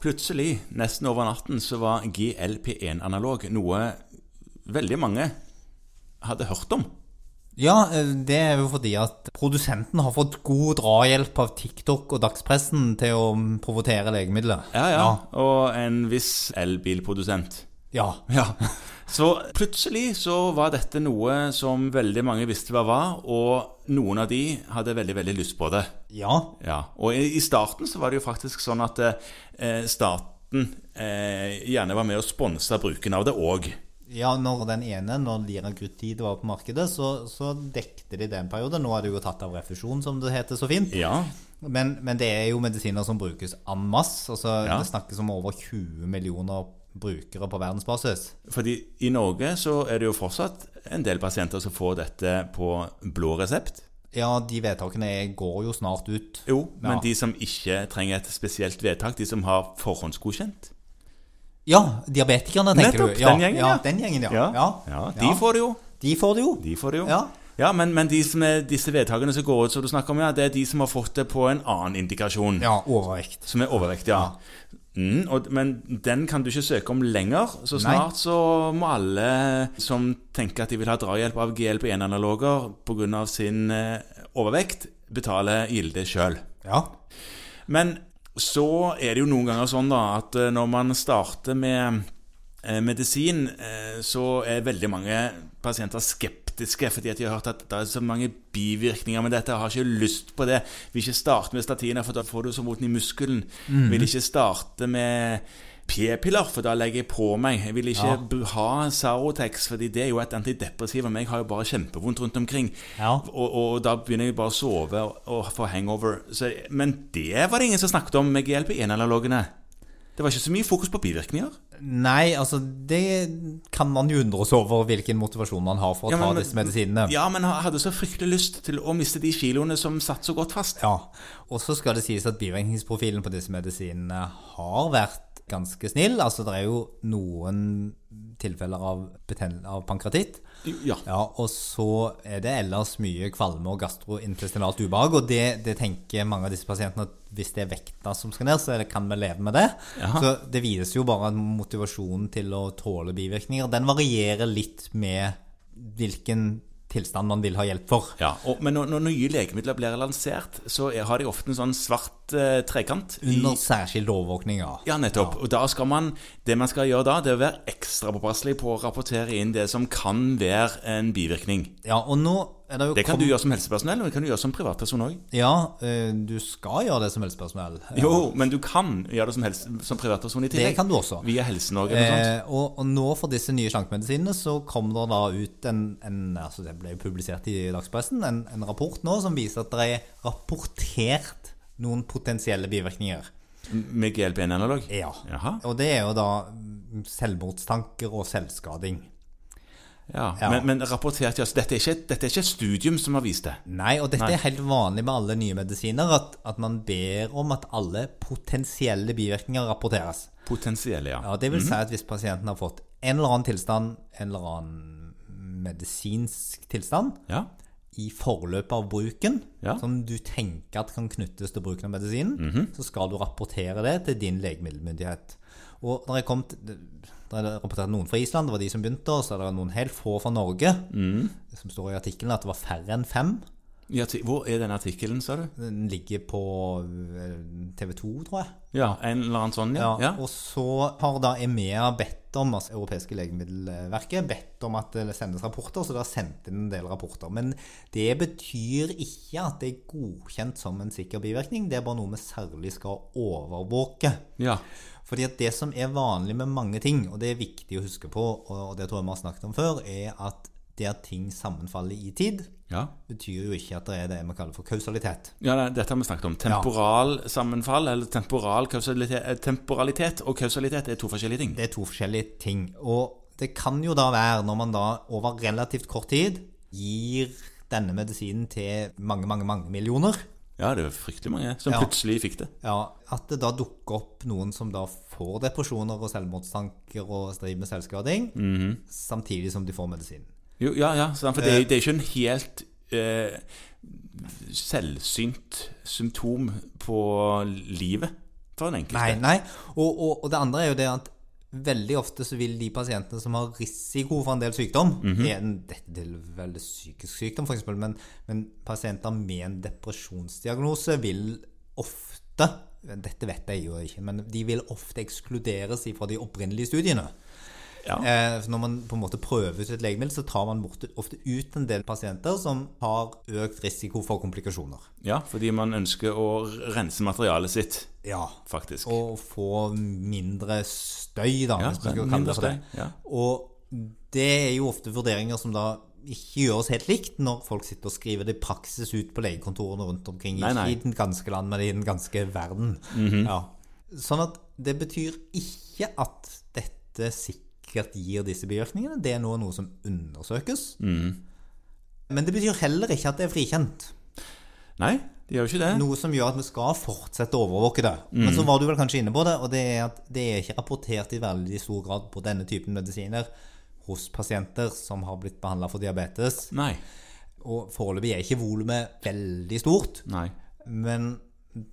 Plutselig, nesten over natten, så var GLP1-analog noe veldig mange hadde hørt om. Ja, eh, det er jo fordi at produsenten har fått god drahjelp av TikTok og dagspressen til å provotere legemidler. Ja, ja. Og en viss elbilprodusent. Ja. Ja. Så plutselig så var dette noe som veldig mange visste hva var, og noen av de hadde veldig, veldig lyst på det. Ja. Ja, og i i starten så var det jo faktisk sånn at eh, staten eh, gjerne var med å sponse bruken av det òg. ja når den ene, når liraglutid var på markedet, så, så dekte de det en periode. Nå er det jo tatt av refusjon, som det heter så fint. Ja. Men, men det er jo medisiner som brukes en masse. Altså, Ja. Det snakkes om over 20 millioner brukere på verdensbasis. Fordi i Norge så er det jo fortsatt en del pasienter som får dette på blå resept. Ja, de vedtakene er- går jo snart ut. Jo, men Ja. de som ikke trenger et spesielt vedtak, de som har forhåndsgodkjent Ja, diabetikerne, tenker Nettopp, du. Ja, den gjengen, ja. ja. Den gjengen, ja. Ja. Ja. De får det jo. De får det jo. De får det jo. Ja. Ja, Men, men de som er disse vedtakene som går ut, som du snakker om, ja, det er de som har fått det på en annen indikasjon. Ja, overvekt. Som er overvektig, ja. Mm, og, men den kan du ikke søke om lenger. Så snart så må alle som tenker at de vil ha drahjelp av GLP1-analoger pga. sin eh, overvekt, betale gilde sjøl. Ja. Men så er det jo noen ganger sånn da at eh, når man starter med eh, medisin, eh, så er veldig mange pasienter skeptiske fordi at de har hørt at det er så mange bivirkninger med dette. Jeg har ikke lyst på det. Vil ikke starte med statiner, for da får du så vondt i muskelen. Mhm. Vil ikke starte med p-piller, for da legger jeg på meg. Jeg vil ikke Ja. bu- ha Sarotex, fordi det er jo et antidepressiv, og meg har jo bare kjempevondt rundt omkring. Ja. Og, og da begynner jeg bare å sove og, og få hangover. Så, men det var det ingen som snakket om med GLP-1-analogene. Det var ikke så mye fokus på bivirkninger. Nei, altså det kan man jo undres over hvilken motivasjon man har for å Ja, men- ta disse medisinene. Ja, men jeg hadde så fryktelig lyst til å miste de kiloene som satt så godt fast. Ja. Og så skal det sies at bivirkningsprofilen på disse medisinene har vært ganske snill. Altså det er jo noen tilfeller av, beten- av pankratitt. Ja. Ja, og så er det ellers mye kvalme og gastrointestinalt ubehag, og det, det tenker mange av disse pasientene at hvis det er vekta som skal ned, så er det- kan vi leve med det. Så det viser jo bare at motivasjonen til å tåle bivirkninger, den varierer litt med hvilken tilstand man vil ha hjelp for. Ja, og, Men når, når nye legemidler blir lansert, så er, har de ofte en sånn svart eh, trekant. i- Under særskilt overvåkning, ja. Ja, nettopp. Og da skal man, Det man skal gjøre da, det er å være ekstra påpasselig på å rapportere inn det som kan være en bivirkning. ja. Og nå er det jo Det kan kom- du gjøre som helsepersonell, og det kan du gjøre som privatperson òg. Ja, eh, du skal gjøre det som helsepersonell. Jo, men du kan gjøre det som, helse, som privatperson i tillegg. Det kan du også. Via Helse-Norge eller noe sånt. Eh, og, og nå for disse nye slankemedisinene så kom det da ut en, en altså det ble jo publisert i dagspressen, en, en rapport nå som viser at det er rapportert noen potensielle bivirkninger. Med GLP-1-analog? Ja. Jaha. Og det er jo da mm, selvmordstanker og selvskading. Ja. Ja. Men, men rapportert, ja. Så dette er, ikke, et- dette er ikke et studium som har vist det. Nei, og dette Nei. er helt vanlig med alle nye medisiner, at, at man ber om at alle potensielle bivirkninger rapporteres. Potensielle, ja. Ja, det vil si at hvis pasienten har fått en eller annen tilstand, en eller annen medisinsk tilstand, Ja. i forløpet av bruken, Ja. som du tenker at kan knyttes til bruken av medisinen, så skal du rapportere det til din legemiddelmyndighet. Og når jeg kom til, der er det rapportert noen fra Island, det var de som begynte, og så er det noen helt få fra Norge, som står i artikkelen at det var færre enn fem. Ja, ti- Hvor er den artikkelen, sa du? Den ligger på eh, TV 2, tror jeg. Ja, En eller annen sånn, ja. Ja, ja. Og så har da EMEA bedt om, altså Europeiske legemiddelverket, bedt om at det sendes rapporter, så da sendte de en del rapporter. Men det betyr ikke at det er godkjent som en sikker bivirkning, det er bare noe vi særlig skal overvåke. ja. Fordi at det som er vanlig med mange ting, og det er viktig å huske på, og det tror jeg vi har snakket om før, er at det at ting sammenfaller i tid, ja. betyr jo ikke at det er det vi kaller for kausalitet. Ja, nei, Dette har vi snakket om. Temporal sammenfall, eller temporal kausalitet, eh, temporalitet og kausalitet er to forskjellige ting. Det er to forskjellige ting. Og det kan jo da være, når man da over relativt kort tid gir denne medisinen til mange, mange, mange millioner, Ja, det er fryktelig mange som Ja. plutselig fikk det. ja, at det da dukker opp noen som da får depresjoner og selvmordstanker og driver med selvskading, samtidig som de får medisinen. Jo, ja, ja, sant, for det, Eh. er- det er ikke en helt eh, selvsynt symptom på livet for den enkelte. Nei, nei. Og, og, og det andre er jo det at veldig ofte så vil de pasientene som har risiko for en del sykdom en, Dette er vel psykisk sykdom, f.eks., men, men pasienter med en depresjonsdiagnose vil ofte Dette vet jeg jo ikke, men de vil ofte ekskluderes fra de opprinnelige studiene. Ja. Eh, for når man på en måte prøver ut et legemiddel, så tar man bort, ofte ut en del pasienter som har økt risiko for komplikasjoner. Ja, fordi man ønsker å rense materialet sitt, Ja, faktisk. Og få mindre støy, da, Ja, hvis man skal mindre kalle det for det. støy, ja. Og det er jo ofte vurderinger som da ikke gjøres helt likt når folk sitter og skriver det i praksis ut på legekontorene rundt omkring. Nei, nei. Mhm. Ikke i den ganske land, men i den ganske verden. ja. Sånn at det betyr ikke at dette sikkert gir disse bivirkningene. Det er nå noe som undersøkes. Mhm. Men det betyr heller ikke at det er frikjent. Nei, de gjør jo ikke det. Noe som gjør at vi skal fortsette å overvåke det. Men så var du vel kanskje inne på det, og det er at det er ikke rapportert i veldig stor grad på denne typen medisiner hos pasienter som har blitt behandla for diabetes. Nei. Og foreløpig er ikke volumet veldig stort, Nei. men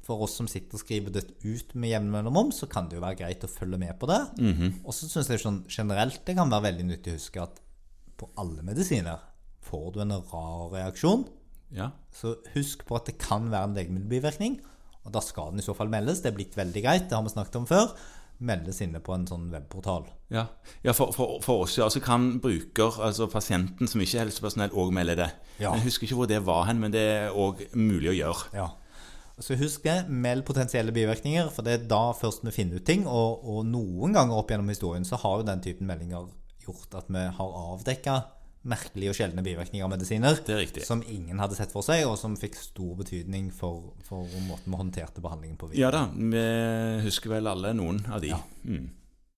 for oss som sitter og skriver det ut med jevne mellomrom, så kan det jo være greit å følge med på det. Og så syns jeg sånn generelt det kan være veldig nyttig å huske at på alle medisiner får du en rar reaksjon. Ja. Så husk på at det kan være en legemiddelbivirkning, og da skal den i så fall meldes. Det er blitt veldig greit, det har vi snakket om før. Meldes inne på en sånn webportal. Ja, ja for, for, for oss ja, så kan bruker, altså pasienten som ikke er helsepersonell, òg melde det. Ja. Jeg husker ikke hvor det var hen, men det er òg mulig å gjøre. Ja. Så husk det, meld potensielle bivirkninger, for det er da først vi finner ut ting. Og, og noen ganger opp gjennom historien så har jo den typen meldinger gjort at vi har avdekka merkelige og sjeldne bivirkninger av medisiner Det er riktig. som ingen hadde sett for seg, og som fikk stor betydning for, for måten vi håndterte behandlingen på. videre. Ja da, vi husker vel alle noen av de. Mm.